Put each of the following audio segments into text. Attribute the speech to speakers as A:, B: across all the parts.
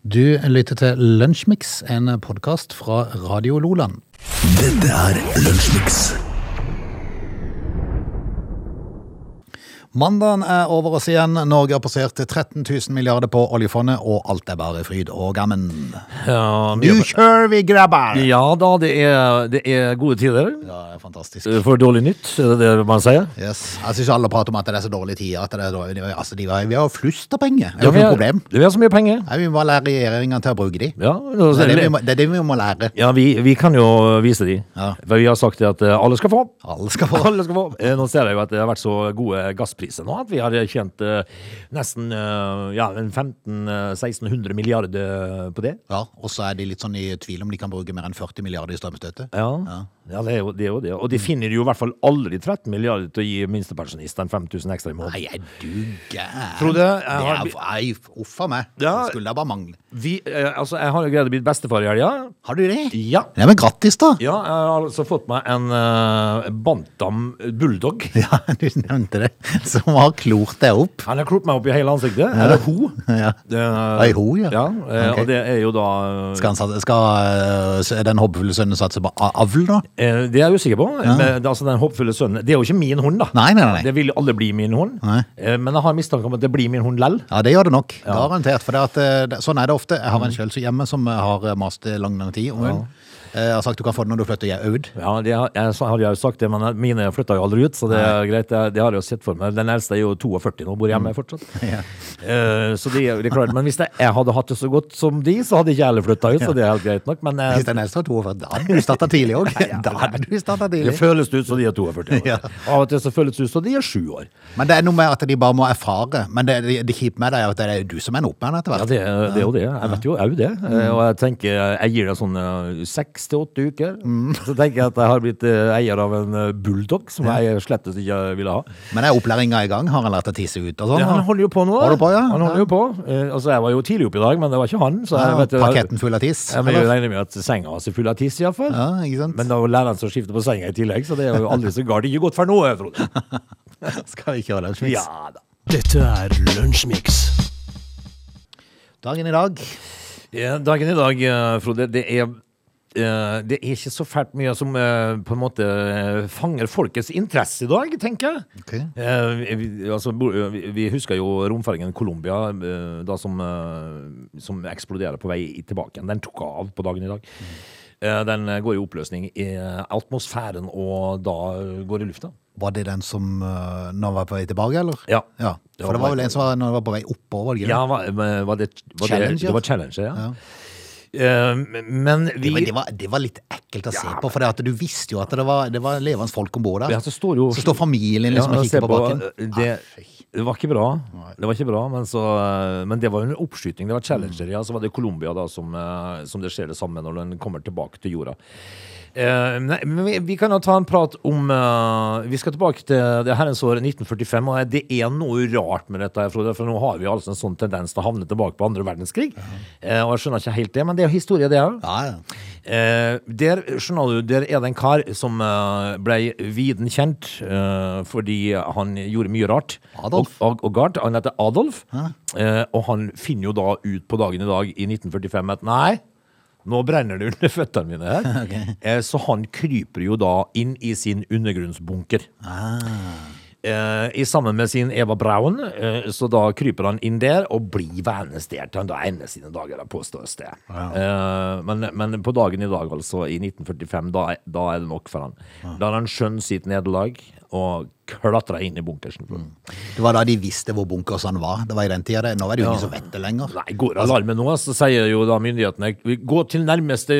A: Du lytter til Lunsjmix, en podkast fra Radio Loland.
B: Dette er Lunsjmix.
A: Mandagen er over oss igjen. Norge har passert 13 000 milliarder på oljefondet, og alt er bare fryd og gammen.
C: Ja,
A: Nu kjører vi, grabber!
C: ja da, det er, det er gode tider
A: Ja, det er fantastisk.
C: eh, for dårlig nytt, er det det man sier?
A: Yes. Jeg syns alle prater om at det er så dårlige tider. At det er dårlig. Altså, de har, vi har flust av penger. Det er jo ikke
C: vi
A: noe
C: har-
A: problem.
C: Vi har så mye penger.
A: Nei, vi må lære regjeringen til å bruke de.
C: Ja,
A: Det er Altså, det vi må, det er det vi må lære.
C: ja vi, vi kan jo vise de.
A: Ja.
C: For vi har sagt det at eh, alle skal få.
A: Alle skal få.
C: Alle skal få. Eh, Nå ser jeg jo at det har vært så gode gasspriser nå at vi har tjent eh, nesten eh, ja, eh, 1500-1600 milliarder eh, på det.
A: Ja, og så er de litt sånn i tvil om de kan bruke mer enn 40 milliarder i strømstøtte.
C: Ja, ja det, er jo, det er jo det.
A: Mm.
C: Og de finner jo i hvert fall aldri 13 milliarder til å gi minstepensjonistene 5000 ekstra i måneden.
A: Nei, er du gæren?
C: Frode, jeg har-
A: Det er- Nei, uff a meg.
C: Ja.
A: Det skulle da bare mangle.
C: Vi, eh, altså, jeg har jo greid å bli bestefar i helga.
A: Har du det?
C: Ja.
A: Nei, men grattis, da.
C: Ja, jeg har altså fått meg en eh, Bantam Bulldog.
A: Ja, du nevnte det. Som har klort deg opp.
C: Han har klort meg opp i hele ansiktet. Eller ho.
A: Ja.
C: Det er-
A: Ei ho, ja.
C: ja eh,
A: Ok.
C: Og det er jo da
A: Skal, han, sat- skal øh, s- den håpefulle sønnen satse på a- avl, da?
C: eh, Det er jeg usikker på. Men, det er altså, den hoppfulle sønnen Det er jo ikke min hund, da.
A: Nei, nei, nei.
C: Det vil jo aldri bli min hund.
A: Nei.
C: Eh, Men jeg har mistanke om at det blir min hund lell.
A: Ja, det gjør det nok. Garantert. For det at, eh, det- sånn er det ofte. Jeg har en
C: Mm.
A: sjøl hjemme som eh, har eh, mast i lang, lang tid om hun. Eh, Jeg har sagt du kan få den når du flytter hjem ut.
C: Ja, det har, jeg sa- hadde jeg jo sagt det, men mine flytta jo aldri ut, så det er greit. Det, det har jeg jo sett for meg. Den eldste er jo 42 nå, bor
A: Mm.
C: hjemme fortsatt. Eh, så det, er- det er klart, Men hvis jeg, jeg hadde hatt det så godt som de, så hadde ikke jeg heller flytta ut, så det er helt greit nok. Men eh,
A: Hvis den eldste har 42, da hadde du starta tidlig òg. Da hadde du starta
C: det
A: tidlig.
C: føles ut som de er 42 år.
A: Ja.
C: Av og til så føles det ut som de er sju år.
A: Men det er noe med at de bare må erfare. Men det, det, det kjipe med det er jo at det er du som er en oppmann etter
C: Ja,
A: hvert.
C: det, er- det er jo det. Jeg vet jo, jeg er jo det. Eh, Og jeg tenker, jeg gir det sånn eh, seks til åtte uker. Så tenker jeg at jeg har blitt eh, eier av en eh, bulldog, som jeg slett ikke ville ha.
A: Men er opplæringa i gang? Har han lært å tisse ut og sånn?
C: Ja, han holder jo på nå. da.
A: Holder på, ja.
C: Han holder jo på. Eh, altså, jeg var jo tidlig oppe i dag, men det var ikke han. Så jeg,
A: Ja,
C: vet, jeg-
A: Parketten full av tiss?
C: Jeg, men jeg
A: eller?
C: regner med at senga hans er full av tiss, iallfall.
A: Ja, ikke sant?
C: Men det er jo læreren som skifter på senga i tillegg, så det er jo aldri så galt. Ikke godt for noe, Frode.
A: Skal vi kjøre den smiks?
C: Ja da.
B: Dette er Lunsjmix.
A: Dagen i dag.
C: Ja, Dagen i dag, eh, Frode, det er eh, det er ikke så fælt mye som eh, på en måte eh, fanger folkets interesse i dag, tenker jeg.
A: Ok.
C: Eh, vi, altså, bo- vi, vi husker jo romfergen Colombia, eh, da som, eh, som eksploderer på vei i- tilbake igjen. Den tok av på dagen i dag. Eh, den eh, går i oppløsning i atmosfæren, og da eh, går i lufta.
A: Var det den som øh, Når han var på vei tilbake, eller?
C: Ja.
A: ja. For det var vel en som var når han var på vei oppover? var det ikke det?
C: Ja, eh, var, var det, var det,
A: Challenger?
C: det var Challenger, ja. Eh, men vi
A: Men det var, det var litt ekkelt å se på, for det at du visste jo at det var, det var levende folk om bord der.
C: Ja, så står jo-
A: Så står familien liksom
C: Ja,
A: og
C: se
A: kikker på bakken.
C: eh, Det, det var ikke bra. Det var ikke bra, men, så, eh, men det var jo en oppskyting. Det var Challenger,
A: Mm.
C: ja. Så var det Colombia da, som, eh, som det skjer det samme når den kommer tilbake til jorda. Eh, nei, men vi, vi kan jo ta en prat om eh, Vi skal tilbake til det herrens år 1945. Og det er noe rart med dette, her, Frode, for nå har vi altså en sånn tendens til å havne tilbake på andre verdenskrig. Eh, og jeg skjønner ikke helt det, men det er jo historie, det òg.
A: Ja, ja.
C: Eh, der, skjønner du, der er det en kar som eh, ble viden kjent eh, fordi han gjorde mye rart.
A: Adolf.
C: Og, og, og gart. Han heter Adolf. Eh, og han finner jo da ut på dagen i dag i 1945 at nei, nå brenner det under føttene mine her. eh, så han kryper jo da inn i sin undergrunnsbunker. Eh, i sammen med sin Eva Braun, eh, så da kryper han inn der og blir værnestert. Han da ender sine dager, da, påstås det. Eh, men, men på dagen i dag, altså, i 1945, da, er- da er det nok for han. Da har han skjønt sitt nederlag og klatra inn i bunkersen.
A: Det var da de visste hvor bunkers han var. Det var i den tida. det. Nå er det jo ingen som vet det lenger.
C: Nei, går alarmen nå, så sier jo da myndighetene gå til nærmeste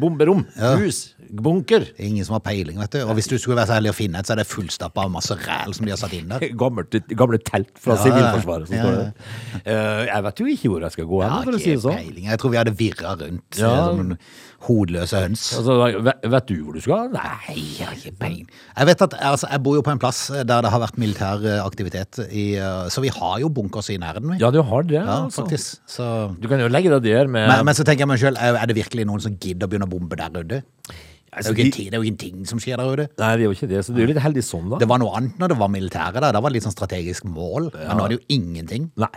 C: bomberom, hus, bunker.
A: Det er ingen som har peiling, vet du. Og hvis du skulle være så heldig å finne et, så er det fullstappa av masse ræl som de har satt inn der.
C: Gammelt, gamle telt fra
A: Ja, ja.
C: Sivilforsvaret. som
A: Ja,
C: står der. Eh, jeg vet jo ikke hvor jeg skal gå hen,
A: Jeg har
C: for å si det
A: ikke
C: sånn.
A: peiling. Jeg tror vi hadde virra rundt
C: Ja.
A: eh, som en hodløse høns.
C: Altså, ve- vet du hvor du skal? Nei.
A: Nei, jeg har ikke peiling. Jeg vet at, altså, jeg bor jo på en plass der det har vært militær eh, aktivitet, i, eh, så vi har jo bunkers i nærheten. Vi.
C: Ja, du har det,
A: Ja,
C: altså.
A: faktisk. Så...
C: Du kan jo legge deg der med
A: Men, men så tenker jeg meg sjøl, er er det virkelig noen som gidder å begynne å bombe der ute? Det er
C: altså,
A: jo ikke en
C: de-
A: ting- det er jo ikke en ting som skjer der ute.
C: Nei, det er jo ikke det, så du er jo litt heldig sånn, da.
A: Det var noe annet når det var militæret der. Da var det litt sånn strategisk mål. Men nå er det jo ingenting.
C: Nei.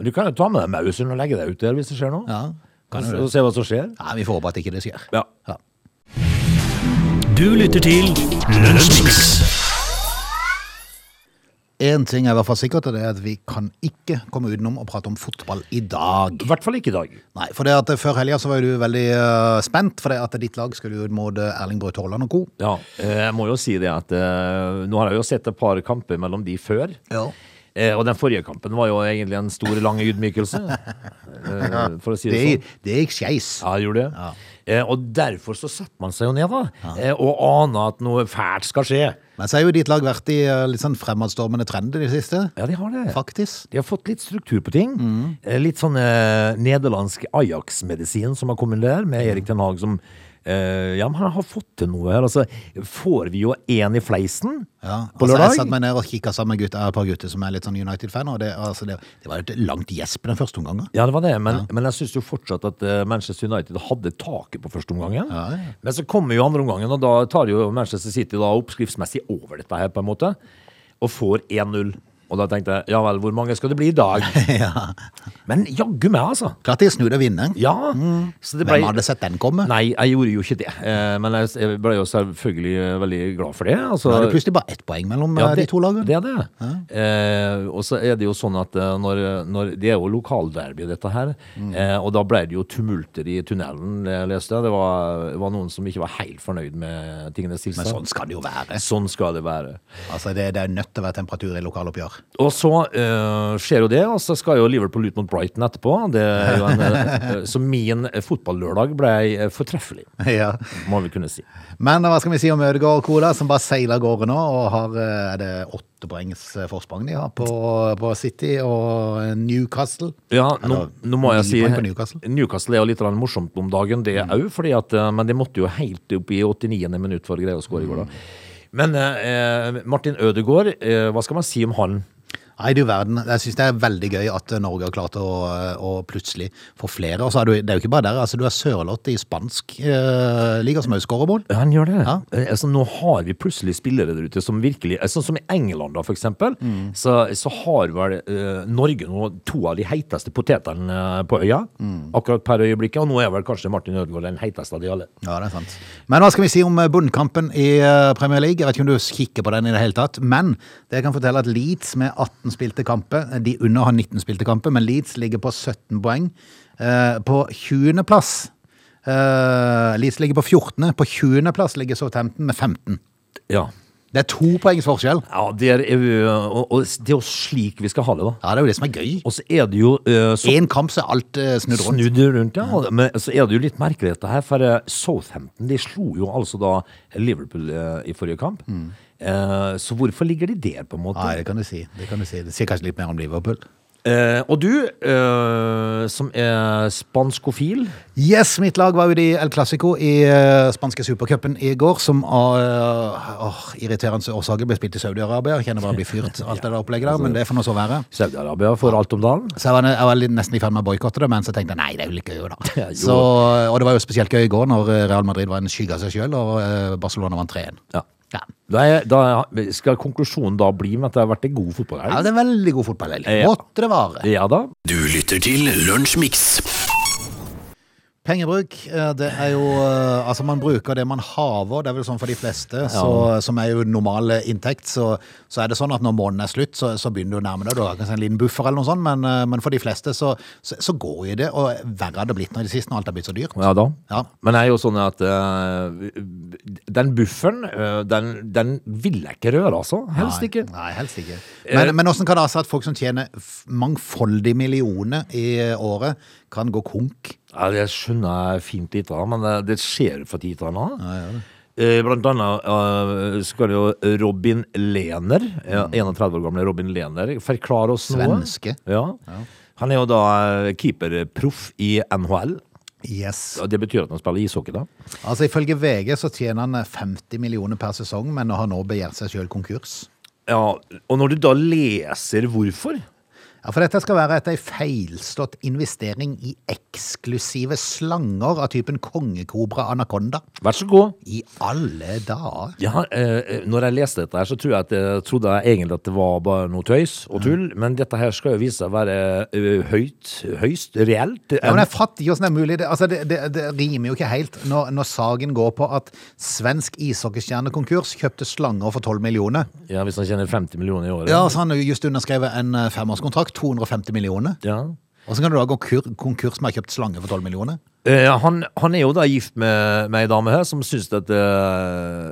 C: Men du kan jo ta med deg mausen og legge deg ut der hvis det skjer noe.
A: Ja, kan
C: Kan
A: du
C: du se hva som skjer?
A: Nei, vi får håpe at ikke det skjer.
C: Ja.
A: Ja.
B: Du lytter til Lunsjmix.
A: En ting er i hvert fall sikkert, og det er at vi kan ikke komme utenom å prate om fotball i dag.
C: I hvert fall ikke i dag.
A: Nei, for det at eh, før helga så var jo du veldig eh, spent, for det at ditt lag skulle ut mot eh, Erling Braut Haaland og co.
C: Ja, eh, jeg må jo si det at eh, nå har jeg jo sett et par kamper mellom de før.
A: Ja.
C: Eh, og den forrige kampen var jo egentlig en stor, lang ydmykelse, eh, for å si det
A: Det,
C: sånn.
A: det gikk skeis.
C: Ja, jeg gjorde det.
A: Ja.
C: Eh, og derfor så setter man seg jo ned, da. Eh, og aner at noe fælt skal skje.
A: Men så har jo ditt lag vært i eh, litt sånn fremadstormende trend i det siste.
C: Ja, de har det.
A: Faktisk.
C: De har fått litt struktur på ting.
A: Mm.
C: Eh, Litt sånn eh, nederlandsk Ajax-medisin som har kommet der, med Erik Den Haag som eh, Ja, men han har fått til noe her. Altså, får vi jo én i fleisen
A: Ja,
C: på
A: altså, jeg
C: lørdag?
A: satt meg ned og kikka sammen med gutta, et par gutter som er litt sånn United-fan, og det, altså, det, det var jo et langt gjesp den første omgangen.
C: Ja, det var det, men, men jeg syns jo fortsatt at eh, Manchester United hadde taket på første omgangen.
A: Ja, ja.
C: Men så kommer jo andre omgangen, og da tar jo Manchester City da oppskriftsmessig over dette her, på en måte, og får 1-0. Og da tenkte jeg ja vel, hvor mange skal det bli i dag?
A: ja.
C: Men jaggu meg, altså.
A: Klart de snur og vinner.
C: Ja. Så det
A: Mm. Hvem
C: ble-
A: hadde sett den komme?
C: Nei, jeg gjorde jo ikke det. Eh, Men jeg- jeg ble jo selvfølgelig eh, veldig glad for det. Altså,
A: Da er det plutselig bare ett poeng mellom
C: ja,
A: eh, de to lagene.
C: Det er det. Eh, og så er det jo sånn at eh, når, når Det er jo lokalderby, dette her.
A: Mm.
C: Eh, og da ble det jo tumulter i tunnelen, eh, leste jeg. Det var, var noen som ikke var helt fornøyd med tingenes
A: Men
C: tilstand.
A: sånn skal det jo være.
C: Sånn skal det være.
A: Altså, det, det er nødt til å være temperatur i lokaloppgjør.
C: Og så eh, skjer jo det, og så skal jo Liverpool ut mot Brighton etterpå. Det er jo en, eh, så min eh, fotballørdag ble eh, fortreffelig,
A: Ja.
C: må vi kunne si.
A: Men hva skal vi si om Ødegaard og Kola, som bare seiler av gårde nå? og har, eh, Er det åtte poengs eh, forsprang de har på, på City og eh, Newcastle?
C: Ja, nå,
A: Eller,
C: nå må jeg
A: ni
C: si
A: poeng på Newcastle. Mm.
C: Newcastle er jo litt grann morsomt om dagen, det òg. fordi at, eh, Men de måtte jo helt opp i 89. minutt for å greie å skåre i
A: Mm.
C: går, da. Men eh, eh, Martin Ødegaard, eh, hva skal man si om han?
A: Nei, du verden. Jeg syns det er veldig gøy at Norge har klart å, eh, å plutselig få flere. Og så er du, det er jo ikke bare der. Altså, du har Sørloth i spansk eh, liga, som også skårer mål.
C: Ja, Han gjør det.
A: Ja.
C: Eh, Altså, nå har vi plutselig spillere der ute som virkelig eh, Sånn som i England, da, for eksempel.
A: Mm.
C: Så, så har vel eh, Norge nå to av de heiteste potetene eh, på øya
A: Mm.
C: akkurat per øyeblikket. Og nå er vel kanskje Martin Ødegaard den heiteste av de alle.
A: Ja, det er sant. Men hva skal vi si om eh, bunnkampen i eh, Premier League? Jeg vet ikke om du kikker på den i det hele tatt, men det jeg kan fortelle at Leeds med 18 spilte kamper, eh, de under har 19 spilte kamper, men Leeds ligger på 17 poeng. Eh, På 20. plass, eh, Leeds ligger på 14. På 20. plass ligger Southampton med 15.
C: Ja.
A: Det er to poengs forskjell.
C: Ja, det er, jo- og, og det er jo slik vi skal ha det, da.
A: Ja, det er jo det som er gøy.
C: Og så er det jo eh, så
A: Én kamp, så er alt eh, snudd rundt.
C: snudd rundt, ja. Men så er det jo litt merkelig dette her, for eh, Southampton de slo jo altså da Liverpool eh, i forrige kamp. Eh, Så hvorfor ligger de der, på en måte?
A: Mm. Nei, det kan du si. Det kan du si. Det sier kanskje litt mer om Liverpool.
C: Eh, Og du, eh, som er spanskofil
A: Yes, mitt lag var ute i El Clásico i eh, spanske supercupen i går, som av eh, åh, irriterende årsaker ble spilt i Saudi-Arabia. Jeg Kjenner bare blir fyrt, alt det der opplegget der, men det får nå så være.
C: Saudi-Arabia for alt om dagen.
A: Så jeg var, jeg var litt- nesten i ferd med å boikotte det, men så tenkte jeg nei, det er jo litt gøy, da.
C: Ja, jo.
A: Så, og det var jo spesielt gøy i går, når eh, Real Madrid var en skygge av seg sjøl, og eh, Barcelona vant 3-1.
C: Ja.
A: Ja.
C: Da, er, da skal konklusjonen da bli med at det har vært en god
A: ja,
C: fotballhelg.
A: det er veldig god fotballhelg.
C: Ja.
A: Måtte det vare.
C: Ja da.
B: Du lytter til Lunsjmix.
A: Pengebruk, eh, det er jo eh, Altså, man bruker det man haver, det er vel sånn for de fleste, så, som er jo normal eh, inntekt. Så, så er det sånn at når måneden er slutt, så, så begynner du å nærme deg. Du har kanskje en liten buffer eller noe sånt, men, eh, men for de fleste så, så, så går jo det. Og verre har det blitt nå i det siste, når alt er blitt så dyrt.
C: Ja da.
A: Ja.
C: Men det er jo sånn at eh, den bufferen, eh, den, den vil jeg ikke røre, altså. Helst ikke.
A: Nei, nei, helst ikke. Men, men hvordan kan det ha seg at folk som tjener f- mangfoldige millioner i eh, året, kan gå konk?
C: Ja, det skjønner jeg fint litt av, men det, det skjer for tid til annen. Eh, Blant annet eh, skal jo Robin Lehner, eh, 31 år gamle Robin Lehner, forklare oss
A: Mm. Svenske.
C: noe. Ja. Han er jo da eh, keeperproff i NHL.
A: Yes.
C: og Det betyr at han spiller ishockey, da.
A: Altså, ifølge VG så tjener han eh, 50 millioner per sesong, men har nå begjært seg sjøl konkurs.
C: Ja, og når du da leser hvorfor
A: Ja, For dette skal være etter ei feilstått investering i eksklusive slanger av typen kongekobra anakonda.
C: Vær så god.
A: I alle dager!
C: Ja, eh, når jeg leste dette her, så tror jeg at jeg trodde jeg egentlig at det var bare noe tøys og tull, men dette her skal jo vise seg å være eh, høyt, høyst reelt.
A: Ja, men jeg fatter ikke hvordan det er mulig. Det, altså, det, det, det rimer jo ikke helt når, når saken går på at svensk ishockeystjernekonkurs kjøpte slanger for 12 millioner.
C: Ja, hvis han tjener 50 millioner i året.
A: Ja, så Han har jo just underskrevet en eh, femårskontrakt, 250 millioner.
C: Ja.
A: Og så kan du da gå kur konkurs med å ha kjøpt slanger for 12 millioner.
C: Eh, han, han er jo da gift med, med ei dame her som syns at, eh,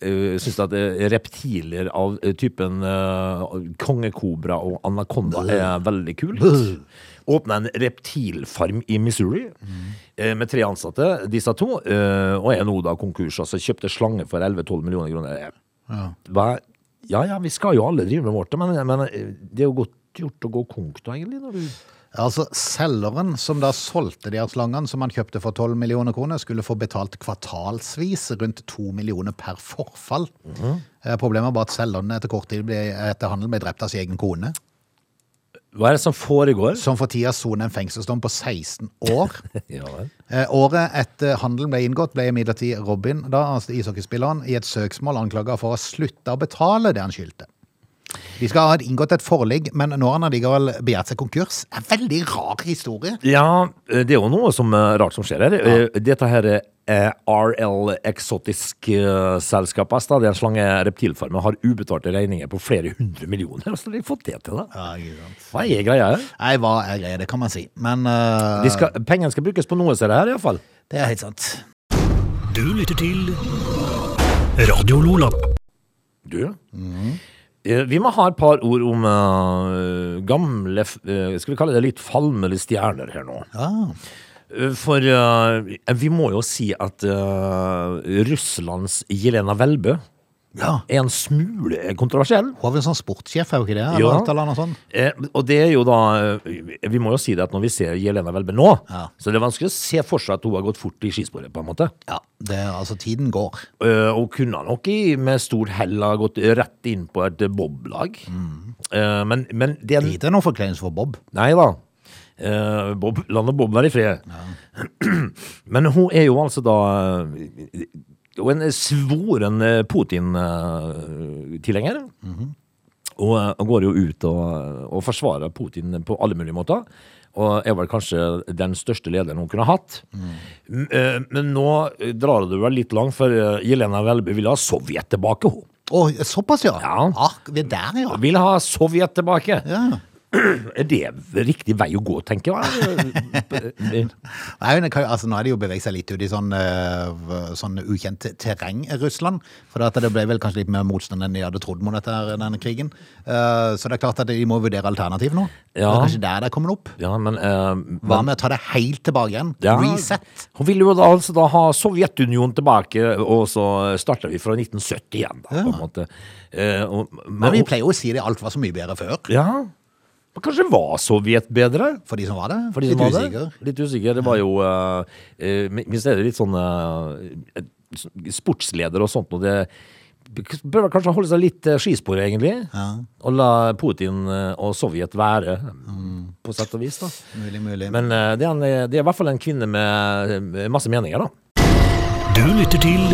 C: eh, syns at eh, reptiler av eh, typen eh, kongekobra og anakonda er veldig kult. Åpna en reptilfarm i Missouri eh, med tre ansatte, disse to, eh, og er nå da konkurs. Altså kjøpte slange for 11-12 millioner kroner. Eh, Hva? Ja ja, vi skal jo alle drive med vårt, men, men eh, det er jo godt gjort å gå konk da, egentlig. Når du
A: Altså, Selgeren som da solgte de her slangene som han kjøpte for 12 millioner kroner, skulle få betalt kvartalsvis rundt 2 millioner per forfall. Eh, Problemet var at selgeren etter kort tid ble, etter handel ble drept av sin egen kone,
C: Hva er det som foregår?
A: som for tida soner en fengselsdom på 16 år.
C: Ja, vel.
A: Eh, Året etter handelen ble inngått, ble imidlertid Robin, da, altså ishockeyspilleren, i et søksmål anklaga for å slutte å betale det han skyldte. De skal ha inngått et forlik, men nå har han allikevel begjært seg konkurs. En veldig rar historie.
C: Ja, eh, det er jo noe som, eh, rart som skjer her. Eh, Dette her eh, RL Exotisk eh, Selskap S, da, det er en slange reptilfarmen, har ubetalte regninger på flere hundre millioner. Hvordan har de fått det til, da?
A: Ja, ikke sant.
C: Hva er greia her?
A: Nei, hva er greia, det kan man si. Men eh,
C: De skal, pengene skal brukes på noe, ser jeg her, iallfall.
A: det er helt sant.
B: Du lytter til Radio Lola.
C: Du? Eh, Vi må ha et par ord om eh, gamle f- eh, Skal vi kalle det litt falmende stjerner her nå?
A: Ja.
C: Eh, For eh, vi må jo si at eh, Russlands Jelena Welbø
A: ja.
C: er en smule kontroversiell.
A: Hun er vel sånn sportssjef, er hun ikke det?
C: Ja.
A: Eller alt eller annet sånt?
C: Eh, og det er jo da eh, Vi må jo si det at når vi ser Jelena Welbe nå,
A: Ja.
C: så det er vanskelig å se for seg at hun har gått fort i skisporet, på en måte.
A: Ja, det, er- altså tiden går.
C: Eh, og kunne nok i, med stort hell ha gått rett inn på et eh, boblag. Eh, men, men det er
A: Lite noen forkleinelse for Bob.
C: Nei da. Eh, Bob, la nå Bob være i fred. Men hun er jo altså da eh, jo en svoren eh, Putin-tilhenger. Og eh, går jo ut og, og forsvarer Putin på alle mulige måter. Og er vel kanskje den største lederen hun kunne hatt. M- eh, Men nå eh, drar det vel litt langt, for eh, Jelena Welby vil ha Sovjet tilbake. hun.
A: Å, såpass, ja.
C: Ja.
A: Ak, vi er der, ja.
C: Vil ha Sovjet tilbake!
A: ja.
C: Er det riktig vei å gå, tenker jeg?
A: Nei, men det kan, jo- altså, nå er det jo beveget seg litt ut i sånn, eh, v- sånn ukjent terreng, i Russland. For at det ble vel kanskje litt mer motstand enn de hadde trodd mot dette, her, denne krigen. Eh, så det er klart at de må vurdere alternativ nå.
C: Ja.
A: Det er kanskje der det er kommet opp.
C: Ja, men, eh,
A: Hva med å ta det helt tilbake igjen?
C: ja,
A: Reset.
C: Hun ville jo da, altså da ha Sovjetunionen tilbake, og så starta vi fra 1970 igjen, da, på en måte. Eh, og,
A: Men
C: men,
A: vi pleier jo å si det alt var så mye bedre før.
C: ja, men kanskje var Sovjet bedre?
A: For de som var der?
C: For de
A: Litt
C: som var der?
A: usikker.
C: Litt usikker. Det var jo eh, eh, Minst er det litt sånn eh, et- Sportsleder og sånt noe. Det bør vel kanskje holde seg litt eh, skisporet, egentlig. Og la Putin eh, og Sovjet være,
A: Mm.
C: på sett og vis. da
A: Mulig, mulig.
C: Men eh, det er, en, det er i hvert fall en kvinne med eh, masse meninger, da.
B: Du lytter til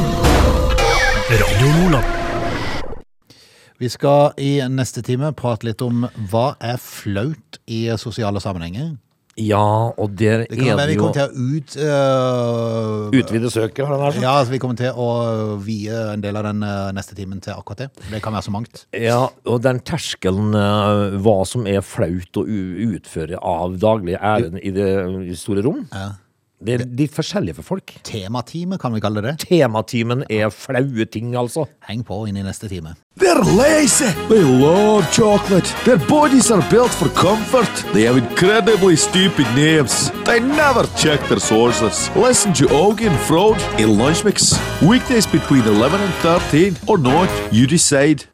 B: Radio Lola.
A: vi skal i neste time prate litt om hva er flaut i sosiale sammenhenger.
C: Ja, og der
A: Det kan
C: er
A: være
C: det
A: vi
C: jo
A: kommer til å ut... øh,
C: Utvide søket, har den her sagt.
A: Ja, altså, vi kommer til å vie en del av den øh, neste timen til akkurat det. Det kan være så mangt.
C: Ja, og den terskelen eh, hva som er flaut å u- utføre av daglig ærend i det store rom, det er litt forskjellig for folk.
A: Tematime, kan vi kalle det.
C: Tematimen er flaue ting, altså.
A: Heng på inn i neste time.
D: They're lazy. They love chocolate. Their bodies are built for comfort. They have incredibly stupid names. They never check their sources. Listen to Augie and Frode in Lunch Mix Weekdays between 11 and 13 or not, you decide.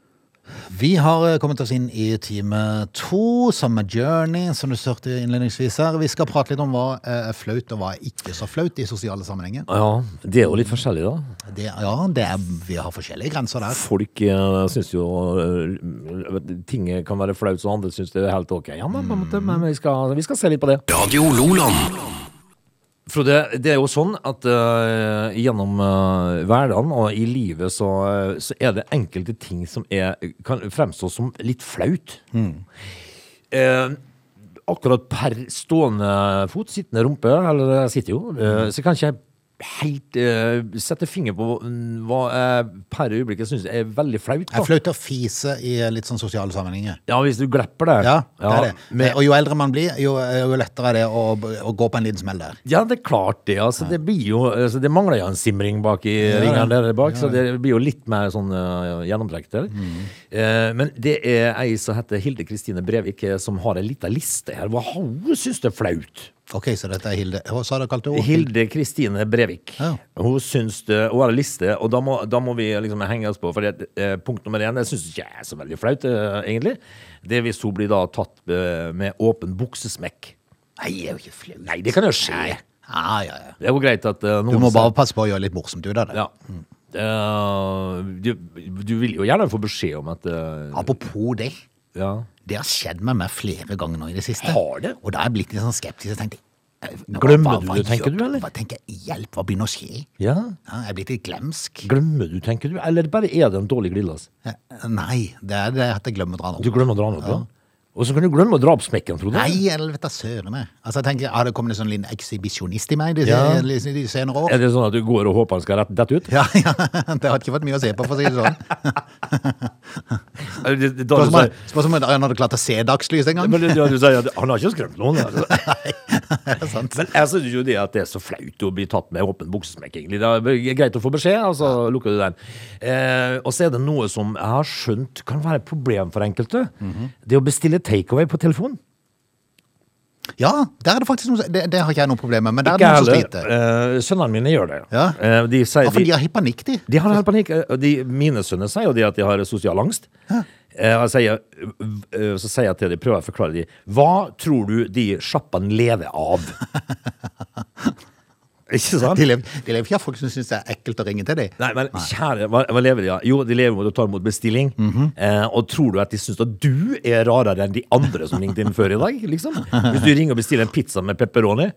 A: Vi har eh, kommet oss inn i time to, som er Journey, som du hørte innledningsvis her. Vi skal prate litt om hva eh, er flaut, og hva er ikke så flaut i sosiale sammenhenger.
C: Ja, det er jo litt forskjellig, da.
A: Det, ja, det er, vi har forskjellige grenser der.
C: Folk eh, syns jo eh, ting kan være flaut, så andre syns det er helt ok. Ja, men, på en måte, men vi, skal, vi skal se litt på det.
B: Radio Loland.
C: Frode, det er jo sånn at eh, gjennom eh, hverdagen og i livet så, eh, så er det enkelte ting som er, kan fremstå som litt flaut.
A: Mm.
C: Eh, akkurat per stående fot, sittende rumpe, eller jeg sitter jo,
A: Mm.
C: eh, så kan ikke jeg helt eh, sette finger på mm, hva jeg per øyeblikket syns er veldig flaut.
A: Det er
C: Da.
A: flaut å fise i litt sånn sosiale sammenhenger.
C: Ja, hvis du glepper det.
A: Ja, det er det.
C: men-
A: og jo eldre man blir, jo, jo lettere er det å, å gå på en liten smell der.
C: Ja, det er klart det. Altså, det, blir jo, altså, det mangler jo en simring bak i ringene der bak, så det blir jo litt mer sånn eh, gjennomtrekk der.
A: Mm.
C: Eh, men det er ei som heter Hilde Kristine Brevik, eh, som har ei lita liste her. Hva hun syns det er flaut?
A: Ok, så dette er Hilde. Hva sa du kalte hun?
C: Hilde Kristine Brevik.
A: Ja.
C: Hun syns det Hun har ei liste, og da må, da må vi liksom henge oss på. For det, eh, punkt nummer én, det syns ikke jeg er så veldig flaut, eh, egentlig. Det er hvis hun blir da tatt eh, med åpen buksesmekk.
A: Nei, jeg er jo ikke flau.
C: Nei, det kan jo skje.
A: Ja, ja, ja.
C: Det er jo greit at eh,
A: Du
C: noen
A: må
C: sier-
A: bare passe på å gjøre litt morsomt ut av det.
C: Ja. Eh, du, du vil jo gjerne få beskjed om at eh,
A: Apropos det.
C: ja.
A: Det har skjedd med meg flere ganger nå i det siste.
C: Har det?
A: Og da har jeg blitt litt sånn skeptisk og tenkt eh, hva-
C: Glemmer
A: hva-
C: du
A: hva
C: det, tenker
A: gjør-
C: du, eller?
A: Hva tenker jeg, hjelp, hva begynner å skje?
C: ja.
A: Ja, jeg er blitt litt glemsk.
C: Glemmer du, tenker du? Eller bare er det en dårlig glidelås?
A: Eh, Nei, det er det at jeg glemmer å dra den opp.
C: Du glemmer å dra den opp, ja. Og så kan du glemme å dra opp smekken, Frode.
A: Nei, eller vet jeg søren meg. Altså, jeg tenker, har det kommet en sånn liten ekshibisjonist i meg de,
C: Ja.
A: de, de senere år?
C: Er det sånn at du går og håper han skal rette dette ut?
A: Ja, ja, det har ikke vært mye å se på, for å si det sånn.
C: Eller det- det- Da
A: Spørs
C: du
A: om han-
C: sier-
A: Spørs om han hadde klart å se dagslys en gang.
C: men det- da du sier at han har ikke skremt noen. altså.
A: Er det sant?
C: Men jeg synes jo det at det er så flaut å bli tatt med åpen buksesmekk, egentlig. Det er greit å få beskjed, og så lukker du den. Eh, og så er det noe som jeg har skjønt kan være et problem for enkelte. Det å bestille takeaway på telefon.
A: Ja, der er det faktisk noe som- det, det har ikke jeg noe problem med, men der er
C: Ikke
A: det noen som
C: heller.
A: sliter.
C: Eh, sønnene mine gjør det.
A: Ja.
C: Eh, de sier
A: Ja, for de
C: de,
A: har hypernikk, de.
C: de har helt panikk. Eh, De, mine sønner sier jo det at de har sosial angst. Eh, og jeg sier, eh, så sier jeg til dem, prøver jeg å forklare dem, hva tror du de sjappene lever av? Ikke sant?
A: De lever, de lever ikke av folk som syns det er ekkelt å ringe til dem.
C: Nei, men kjære, hva, hva lever de av? Jo, de lever med å ta imot bestilling.
A: Mhm.
C: eh, og tror du at de syns at du er rarere enn de andre som ringte inn før i dag? liksom? Hvis du ringer og bestiller en pizza med pepperoni,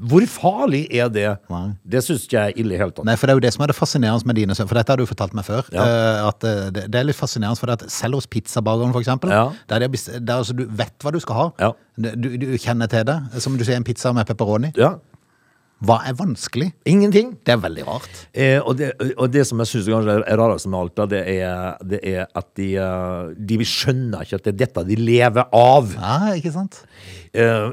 C: hvor farlig er det?
A: Nei.
C: Det syns ikke jeg er ille i hele tatt.
A: Nei, for det er jo det som er det fascinerende med dine sønner, for dette har du fortalt meg før,
C: Ja.
A: eh, at eh, det, det er litt fascinerende, for det at selv hos pizzabageren for eksempel,
C: Ja.
A: der, de, har best- der altså, du vet hva du skal ha,
C: Ja.
A: du, du kjenner til det, som du sier en pizza med pepperoni,
C: Ja,
A: hva er vanskelig?
C: Ingenting.
A: Det er veldig rart.
C: Eh, og, det, og det som jeg syns kanskje er rarest med alt, da, det er, det er at de, eh, de skjønner ikke at det er dette de lever av.
A: Ja, ikke sant?
C: Eh,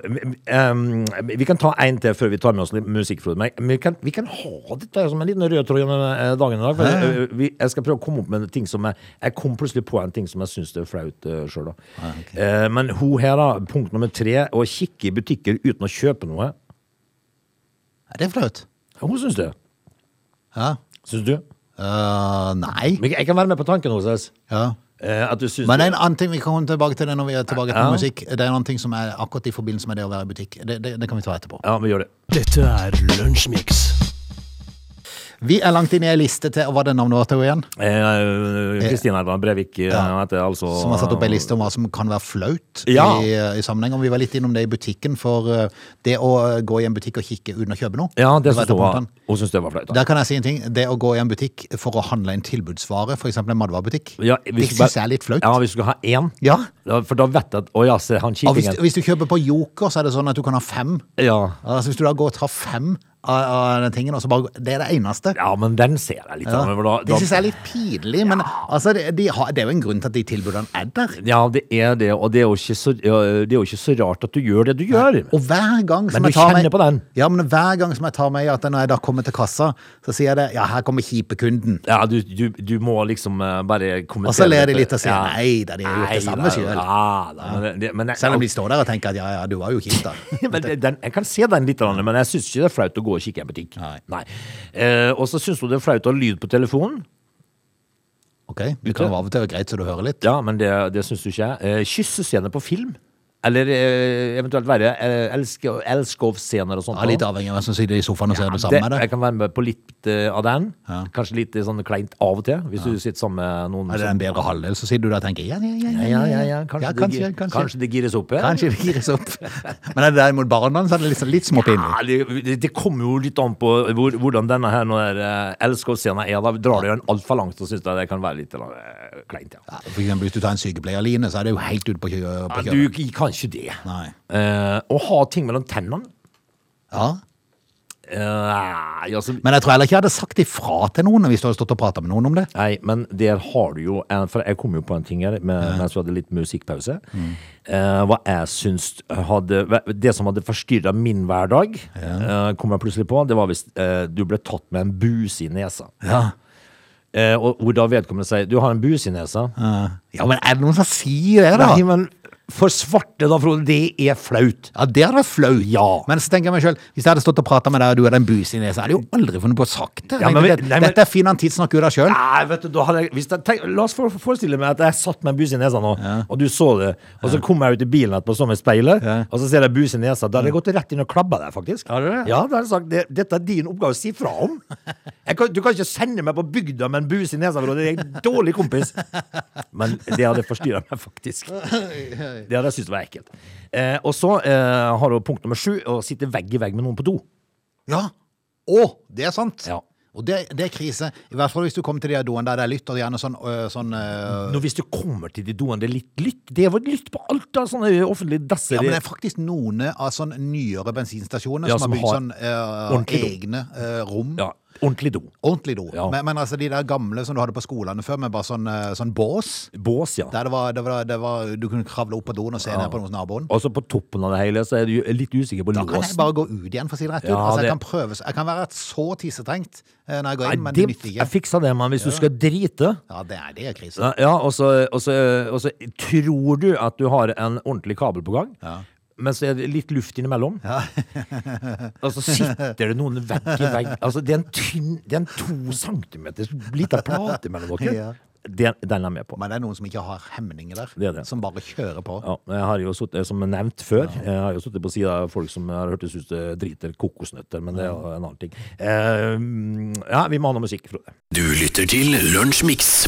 C: em, vi kan ta en til før vi tar med oss litt musikk, Frode. Men vi kan, vi kan ha dette som en liten rød tråd gjennom eh, dagen i dag. For
A: Ja, ja.
C: eh, vi, jeg skal prøve å komme opp med ting som jeg, jeg kom plutselig på en ting som jeg syns er flaut uh, sjøl, da.
A: Ah,
C: Eh, men hun her, da. Punkt nummer tre. Å kikke i butikker uten å kjøpe noe.
A: Er det flaut?
C: Hun syns det.
A: Ja.
C: Syns du?
A: Eh, nei.
C: Men jeg kan være med på tanken hennes.
A: Ja.
C: Eh, at du syns
A: Men det er en annen ting vi kan komme tilbake til det når vi er tilbake til
C: Ja.
A: musikk. Det er en annen ting som er akkurat i forbindelse med det å være i butikk. Det, det, det kan vi ta etterpå.
C: Ja, vi gjør det.
B: Dette er Lunsjmix.
A: Vi er langt inn i ei liste til og Hva er det navnet vårt til igjen?
C: Eh, Kristina Edvard Brevik eh,
A: Ja.
C: heter altså
A: Som har satt opp ei liste om hva som kan være flaut
C: Ja.
A: i, eh, i sammenheng. Og vi var litt innom det i butikken, for eh, det å eh, gå i en butikk og kikke uten å kjøpe noe
C: Ja, det
A: var
C: syns
A: et av
C: hun var,
A: punktene.
C: hun synes det var flaut. da.
A: Der kan jeg si en ting. Det å gå i en butikk for å handle en tilbudsvare, f.eks. en matvarebutikk,
C: Ja,
A: det
C: hvis du bare-
A: syns jeg er litt flaut.
C: Ja, hvis du skal ha én.
A: Ja.
C: Da- For da vet jeg at Å ja, se, han
A: Og hvis,
C: kikkingen.
A: hvis du kjøper på Joker, så er det sånn at du kan ha fem.
C: Ja.
A: Altså, hvis du da går og tar fem av, av den tingen, og så bare, det er det eneste.
C: ja, men den ser jeg litt.
A: Ja.
C: sammen med, for Da, da,
A: Det syns jeg er litt pinlig, men altså, det, de har, det er jo en grunn til at de tilbudene er der.
C: Ja, det er det, og det er, jo ikke så, ja, det er jo ikke så rart at du gjør det du gjør.
A: Og hver gang som
C: Men
A: jeg
C: du
A: tar
C: kjenner
A: meg,
C: på den.
A: Ja, men hver gang som jeg tar meg i at når jeg da kommer til kassa, så sier jeg det Ja, her kommer kjipe kunden.
C: Ja, du, du, du må liksom eh, bare kommentere
A: Og så ler de
C: dette.
A: litt og sier,
C: Ja.
A: «Nei da, de har gjort det
C: Nei
A: samme
C: da,
A: selv.»
C: Ja, da, men, det, men, jeg-
A: Selv om de står der og tenker at ja, ja, du var jo kjip, da.
C: men det- den, jeg kan se den litt, Arne, men jeg syns ikke det er flaut å gå og kikke i en butikk.
A: Nei.
C: Eh, og så syns hun det er flaut å ha lyd på telefonen.
A: Ok, Det kan jo av og til være greit så du hører litt.
C: Ja, men det, det syns du ikke jeg. Eh, kyssescener på film? Eller eh, eventuelt verre, eh, elske- elskovscener og sånt.
A: Ja, litt
C: da.
A: avhengig av hvem som sitter i sofaen og ser det
C: Det-
A: sammen med
C: Jeg
A: deg.
C: kan være med på litt eh, av den.
A: Ja.
C: Kanskje litt eh, sånn kleint av og til, hvis du sitter sammen med noen.
A: Er det
C: som-
A: en bedre halvdel, så sitter du der og tenker ja, ja, ja.
C: ja, ja, ja, ja. Kanskje,
A: ja kanskje,
C: det, gir-
A: kanskje.
C: kanskje det gires opp. ja.
A: Kanskje det gires opp. Men er det derimot barna, så er det liksom litt småpinlig.
C: Ja, det, det- det kommer jo litt an på hvor, hvordan denne her nå er, eh, elskovsscenen er. Da drar det jo en altfor langt, og syns jeg det kan være litt eh, kleint, ja.
A: Ja, for eksempel hvis du tar en sykepleierline, så er det jo helt ute på kjø- på
C: ja du
A: kjøret.
C: kan ikke det.
A: Nei.
C: Eh, å ha ting mellom tennene
A: Ja.
C: eh, nei, altså,
A: Men jeg tror heller ikke jeg hadde sagt ifra til noen hvis du hadde stått og prata med noen om det.
C: Nei, men der har du jo en- For jeg kom jo på en ting her med, mens vi hadde litt musikkpause.
A: Mm.
C: Eh, hva jeg syns hadde Det som hadde forstyrra min hverdag, eh, kom jeg plutselig på, det var hvis eh, du ble tatt med en buse i nesa.
A: Ja.
C: Eh, og hvor da vedkommende sier 'du har en buse i nesa'.
A: Eh, ja, men er det noen som sier det, da?
C: Nei, men for svarte, da, Frode, det er flaut.
A: Ja, det hadde vært flaut. Ja. Men så tenker jeg meg selv, hvis jeg hadde stått og prata med deg, og du hadde en bus i nesa, hadde jeg jo aldri funnet på å sagt det.
C: Ja, men-
A: Dette-
C: nei, men-
A: Dette er fin antitt, snakk ut av sjøl.
C: Nei, vet du, da hadde jeg, hvis jeg tenk, La oss for- forestille meg at jeg satt med en buse i nesa nå, og du så det. Og så kom jeg ut i bilen etterpå så med speilet, og så ser jeg buse i nesa. Da hadde jeg gått rett inn og klabba deg, faktisk.
A: Hadde du det?
C: Ja, da hadde jeg sagt det, dette er din oppgave å si fra om. Jeg kan, du kan ikke sende meg på bygda med en buse i nesa, for det er en dårlig kompis. Men det hadde forstyrra meg, faktisk. Det hadde jeg syntes var ekkelt. Eh, og så eh, har du punkt nummer sju, å sitte vegg i vegg med noen på do.
A: Ja. Å, det er sant.
C: Ja.
A: Og det, det er krise. I hvert fall hvis du kommer til de her doen der det er lytt, og gjerne sånn, øh, sånn øh,
C: Nå, hvis du kommer til de doene, det er litt lytt. Det var lytt på alt av sånne offentlige dasser.
A: Ja, men det er faktisk noen av sånn nyere bensinstasjoner
C: Ja,
A: som,
C: som
A: har bygd
C: har
A: sånn eh,
C: ordentlig do.
A: egne eh, rom.
C: Ja, ordentlig do.
A: Ordentlig do.
C: Ja.
A: Men, men altså de der gamle som du hadde på skolene før, med bare sånn, eh, sånn bås.
C: Bås, ja.
A: Der det var, det var, det var, du kunne kravle opp på doen og se ned på noen hos naboen.
C: Og så Altså, på toppen av det hele, så er du jo litt usikker på
A: Da kan jeg
C: låsen.
A: bare gå ut igjen, for å si det rett ut.
C: Ja,
A: altså, jeg,
C: det-
A: kan prøve, jeg kan være så tissetrengt eh, når jeg går
C: Nei,
A: inn, men det
C: det,
A: nytter
C: jeg
A: ikke.
C: fiksa det, men hvis du skal drite
A: Ja, det er, det er krise.
C: Ja, ja, og så, og, så, og så tror du at du har en ordentlig kabel på gang, men så er det litt luft innimellom. og så sitter det noen vegg i vegg. Altså, det er en tynn, det er en to centimeters lita plate mellom dere.
A: Ja.
C: Den, den er jeg med på.
A: Men det er noen som ikke har hemninger der,
C: Det er det.
A: som bare kjører på.
C: Ja, men jeg har jo suttet, eh, som nevnt før, jeg har jo suttet på sida av folk som har hørtes ut som driter kokosnøtter, men det er jo en annen ting. Eh, ja, vi må ha noe musikk, Frode.
B: Du lytter til Lunsjmix.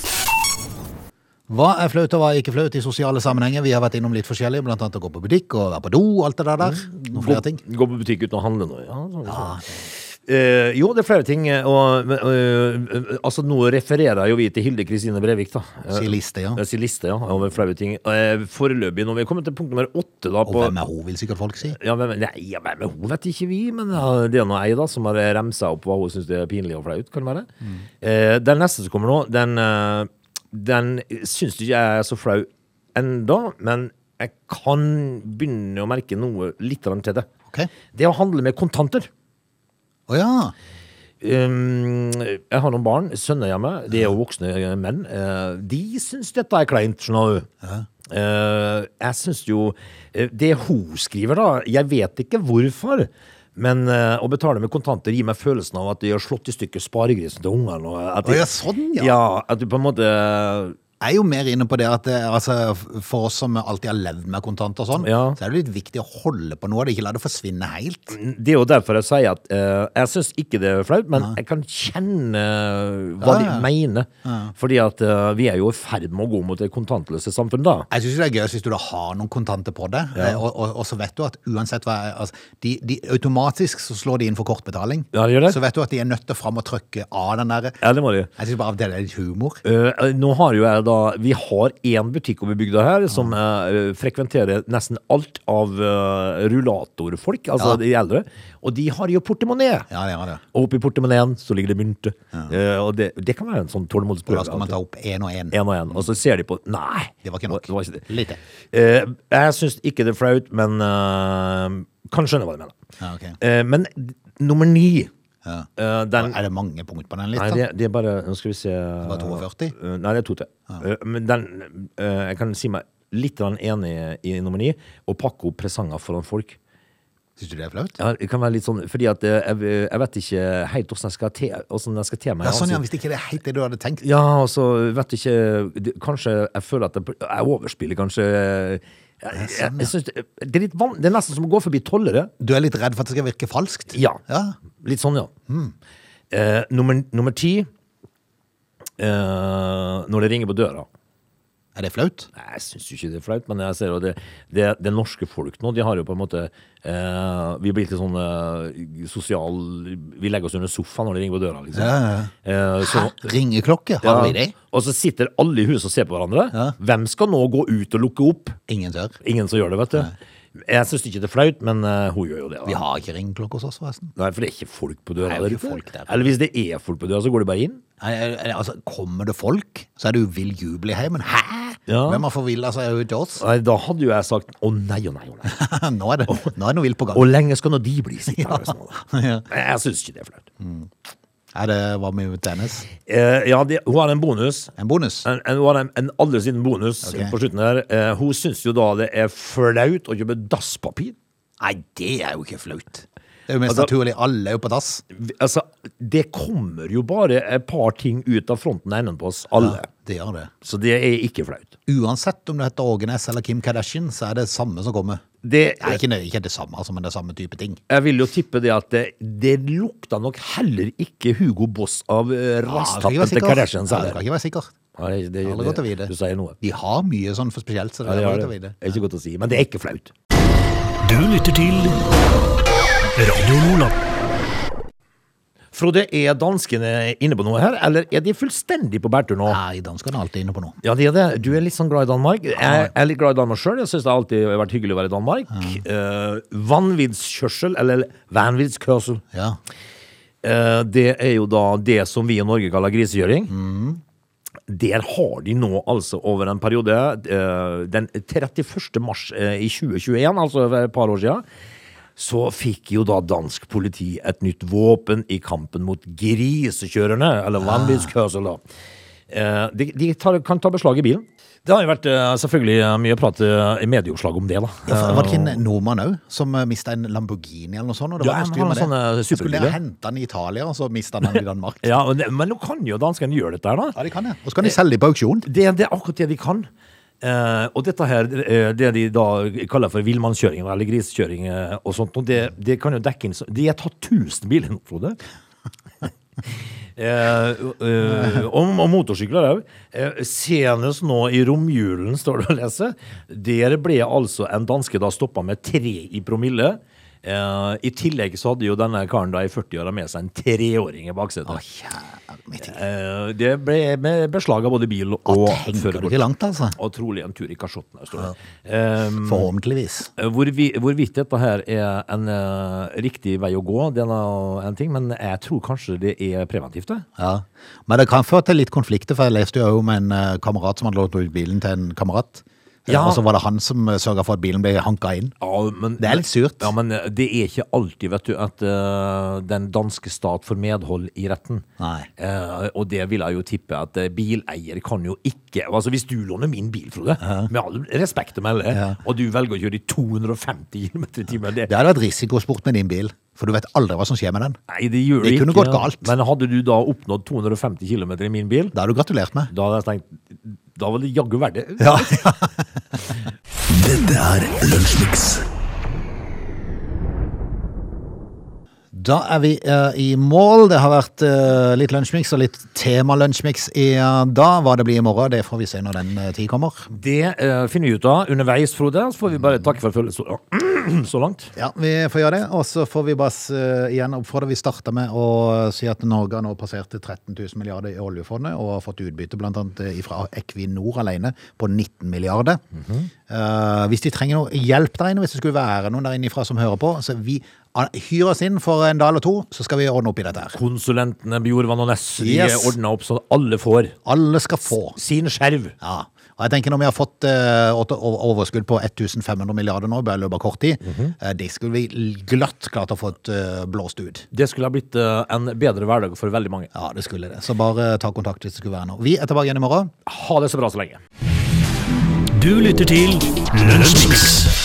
A: Hva er flaut og hva er ikke flaut i sosiale sammenhenger? Vi har vært innom litt forskjellig, blant annet å gå på butikk og være på do og alt det der der.
C: Mm.
A: Noen flere ting. Ah,
C: Gå på butikk uten å handle nå, ja. sånn, sånn. Eh, jo, det er flere ting. eh, Og, men, eh, eh, altså, nå refererer jo vi til Hilde Kristine Brevik, da. Eh,
A: Si liste, ja.
C: jeg sier liste, ja, over flaue ting. Eh, foreløpig, når vi kommer til punkt nummer åtte, da
A: Og
C: på
A: hvem er hun, vil sikkert folk si.
C: ja, hvem, nei, ja, hvem er hun, vet ikke vi, men ja, det er nå ei da som har remsa opp hva hun syns er pinlig og flaut, kan det være. Eh, den neste som kommer nå, den, eh, den syns ikke jeg er så flau enda, men jeg kan begynne å merke noe litt grann til det.
A: Ok.
C: Det å handle med kontanter.
A: Å ja.
C: Um, jeg har noen barn, sønner hjemme, de er jo voksne eh, menn. Eh, de syns dette er kleint, skjønner du. Eh, jeg syns jo eh, Det hun skriver, da, jeg vet ikke hvorfor, men eh, å betale med kontanter gir meg følelsen av at de har slått i stykker sparegrisen til ungene. og at de-
A: Å ja, sånn, ja.
C: At du på en måte
A: Jeg er jo mer inne på det at det, altså, for oss som alltid har levd med kontanter og sånn,
C: Ja.
A: så er det litt viktig å holde på noe, og ikke la det forsvinne helt.
C: Det er jo derfor jeg sier at eh, jeg syns ikke det er flaut, men jeg kan kjenne eh, hva
A: Ja, ja.
C: de mener. Fordi at eh, vi er jo i ferd med å gå mot det kontantløse samfunn da.
A: Jeg syns det er gøy hvis du da har noen kontanter på deg, eh, og, og, og så vet du at uansett hva jeg- altså, de, de Automatisk så slår de inn for kortbetaling.
C: Ja, de gjør det.
A: Så vet du at de er nødt til å fram og trykke av den derre.
C: Ja, det må de.
A: Jeg syns bare det er litt humor.
C: Eh, nå har jo jeg da Vi har én butikk over bygda her som eh, frekventerer nesten alt av eh, rullatorfolk, altså de eldre. Og de har jo portemonné.
A: Ja, det er det.
C: Og oppi portemoneen så ligger det mynter. Eh, og det, det kan være en sånn
A: Og da
C: tålmodighetsprøve.
A: skal man ta opp én og én.
C: En og en. Og så ser de på Nei!
A: Det var ikke nok.
C: Det var ikke det.
A: Litt til.
C: Eh, jeg syns ikke det er flaut, men eh, kan skjønne hva du mener.
A: Ja, ok.
C: Eh, men d- nummer ni
A: Ja.
C: eh, den,
A: Er det mange punkt på den
C: Nei,
A: lista?
C: det, det er bare Nå skal vi se Det
A: var 42?
C: Nei, det er to til. Eh, Men den eh, Jeg kan si meg litt grann enig i nummer ni. Å pakke opp presanger foran folk.
A: Syns du det er flaut?
C: Ja, det kan være litt sånn, fordi at eh, jeg, jeg vet ikke helt hvordan jeg skal te, hvordan jeg skal te meg.
A: Ja, sånn, ja,
C: Altså,
A: Hvis ikke det er helt det du hadde tenkt.
C: ja, og så vet du ikke det- Kanskje jeg føler at jeg, jeg overspiller, kanskje. Jeg, jeg,
A: sånn,
C: jeg, synes det, det, er litt van, det er nesten som å gå forbi tollere.
A: Du er litt redd for at det skal virke falskt?
C: Ja.
A: ja. Mm.
C: Litt sånn, ja. Eh, nummer, nummer ti eh, Når det ringer på døra.
A: Er det flaut?
C: Nei, Jeg syns jo ikke det er flaut, men jeg ser jo det, det, det norske folk nå, de har jo på en måte eh, Vi blir litt sånn eh, sosial Vi legger oss under sofaen når de ringer på døra, liksom. Eh, så,
A: Ringeklokke? Har vi det?
C: Og så sitter alle i huset og ser på hverandre. Hvem skal nå gå ut og lukke opp?
A: Ingen tør.
C: Ingen som gjør det, vet du. Jeg syns ikke det er flaut, men eh, hun gjør jo det. da.
A: Vi har ikke ringeklokke hos oss, forresten.
C: Nei, for det er ikke folk på døra.
A: Nei, det er jo
C: der
A: ikke
C: ute.
A: folk der.
C: Eller hvis det er folk på døra, så går de bare inn.
A: Nei, er- er- Altså, Kommer det folk, så er det jo vill jubel i heimen. Hæ?!
C: Ja.
A: Hvem har forvilla seg ut til oss?
C: Nei, da hadde jo jeg sagt å nei, å nei, å nei.
A: nå, er det, nå er det noe vilt på gang.
C: Hvor lenge skal nå de bli sittende? her, sånn, da? Nei, Jeg syns ikke det er flaut.
A: Er det hva med tennis?
C: Eh, ja, det, hun har en bonus.
A: En bonus?
C: En, en, hun har en, en aller siden bonus
A: Ok.
C: på slutten her. Eh, hun syns jo da det er flaut å kjøpe dasspapir.
A: Nei, det er jo ikke flaut. Det er jo mest
C: Altså-
A: naturlig. Alle er jo på dass.
C: Vi- Altså, det kommer jo bare et par ting ut av fronten av enden på oss alle.
A: Det gjør det.
C: Så det er ikke flaut.
A: Uansett om du heter Ågenes eller Kim Kardashian, så er det samme som kommer.
C: Det,
A: Det er ikke, nøye- ikke det samme, altså, men det er samme type ting.
C: jeg vil jo tippe det at det, det lukta nok heller ikke Hugo Boss av eh,
A: Ja, du
C: rastappen
A: skal ikke
C: til
A: være
C: Kardashian.
A: sikker. Ja, du skal ikke være sikker.
C: Nei, det,
A: Alle går til videre.
C: Du sier noe.
A: De har mye sånn for spesielt, så det
C: Ja,
A: er
C: det
A: bare
C: er,
A: til å
C: det.
A: vite.
C: Det er ikke godt å si, men det er ikke flaut.
B: Du lytter til Radio Lola.
C: Frode, er danskene inne på noe her, eller er de fullstendig på bærtur nå?
A: Nei, danskene er alltid inne på noe.
C: Ja, de er det. Du er litt sånn glad i Danmark. Jeg jeg er litt glad i Danmark sjøl. Jeg syns det har alltid vært hyggelig å være i Danmark. Eh, vanviddskjørsel, eller vanviddskørsel,
A: Ja.
C: eh, det er jo da det som vi i Norge kaller grisegjøring. Der har de nå altså over en periode, eh, den 31. mars eh, i 2021, altså for et par år siden, så fikk jo da dansk politi et nytt våpen i kampen mot grisekjørerne, eller vanviddskørsel da. Eh, De, de tar, kan ta beslag i bilen. Det har jo vært eh, selvfølgelig mye prat eh, i medieoppslag om det, da.
A: Ja, for, var det ikke en nordmann òg som mista en Lamborghini eller noe sånt? Og det
C: Eh, Ja,
A: var noe
C: han
A: styr
C: har
A: med det.
C: sånne
A: Han Skulle dere
C: superbiler.
A: hente den i Italia, og så mista han den i Danmark?
C: Ja, men, men nå kan jo danskene gjøre dette her, da.
A: Ja, de kan det. Og så kan de selge de på auksjon.
C: Det, det er akkurat det de kan. Eh, og dette her, eh, det de da kaller for villmannskjøring eller grisekjøring eh, og sånt, og det, det kan jo dekke inn så- De har tatt 1000 biler nå, Frode. Eh, eh, og, og motorsykler òg. Eh, senest nå i romjulen, står det å lese. Der ble altså en danske da stoppa med tre i promille. Eh, I tillegg så hadde jo denne karen da i 40-åra med seg en treåring i baksetet.
A: Å, kjære mitt.
C: Eh, Det ble med beslag av både bil og
A: Tenker du
C: førerkort.
A: ikke langt, altså?
C: Og trolig en tur i kasjotten. her, står det. Ehm,
A: Forhåpentligvis.
C: hvor vi, hvorvidt dette her er en eh, riktig vei å gå, det er nå en ting, men jeg tror kanskje det er preventivt. det.
A: Ja. Men det kan føre til litt konflikter, for jeg leste jo om en eh, kamerat som hadde lånt ut bilen til en kamerat. Eh,
C: Ja.
A: Og så var det han som sørga for at bilen ble hanka inn.
C: Ja, men,
A: Det er litt surt.
C: Ja, men eh, det er ikke alltid, vet du, at eh, den danske stat får medhold i retten.
A: Nei.
C: Eh, og det vil jeg jo tippe at eh, bileier kan jo ikke Altså Hvis du låner min bil, Frode, med all respekt å melde, og du velger å kjøre i 250 km i timen det,
A: Det hadde vært risikosport med din bil, for du vet aldri hva som skjer med den.
C: Nei, det gjør
A: Det
C: det ikke.
A: kunne gått galt.
C: Men hadde du da oppnådd 250 km i min bil,
A: Det har du gratulert med.
C: da hadde jeg tenkt Da var det jaggu verdt det.
A: Ja.
B: Dette er Lunsjmix.
A: Da er vi eh, i mål. Det har vært eh, litt lunsjmix og litt tema-lunsjmix i eh, dag. Hva det blir i morgen, det får vi se når den eh, tid kommer.
C: Det eh, finner vi ut av underveis, Frode. Så får vi bare takke for følelsen så, så langt.
A: Ja, vi får gjøre det. Og så får vi bare s- eh, igjen oppfordre. Vi starta med å eh, si at Norge har nå passert 13 000 milliarder i oljefondet og har fått utbytte bl.a. fra Equinor alene på 19 milliarder. Eh, hvis de trenger noe hjelp der inne, hvis det skulle være noen der inne ifra som hører på, så vi an- hyr oss inn for en dag eller to, så skal vi ordne opp i dette her.
C: Konsulentene Bjorvann og Næss de
A: Yes.
C: ordna opp så alle får
A: Alle skal få.
C: sin skjerv.
A: Ja, og jeg tenker når vi har fått eh, åtte- over- overskudd på 1500 milliarder nå, bare i løpet av kort tid, eh, det skulle vi glatt klart å fått eh, blåst ut.
C: Det skulle ha blitt eh, en bedre hverdag for veldig mange.
A: Ja, det skulle det. Så bare ta kontakt hvis det skulle være noe. Vi er tilbake igjen i morgen.
C: Ha det så bra så lenge.
B: Du lytter til Lunsjmix.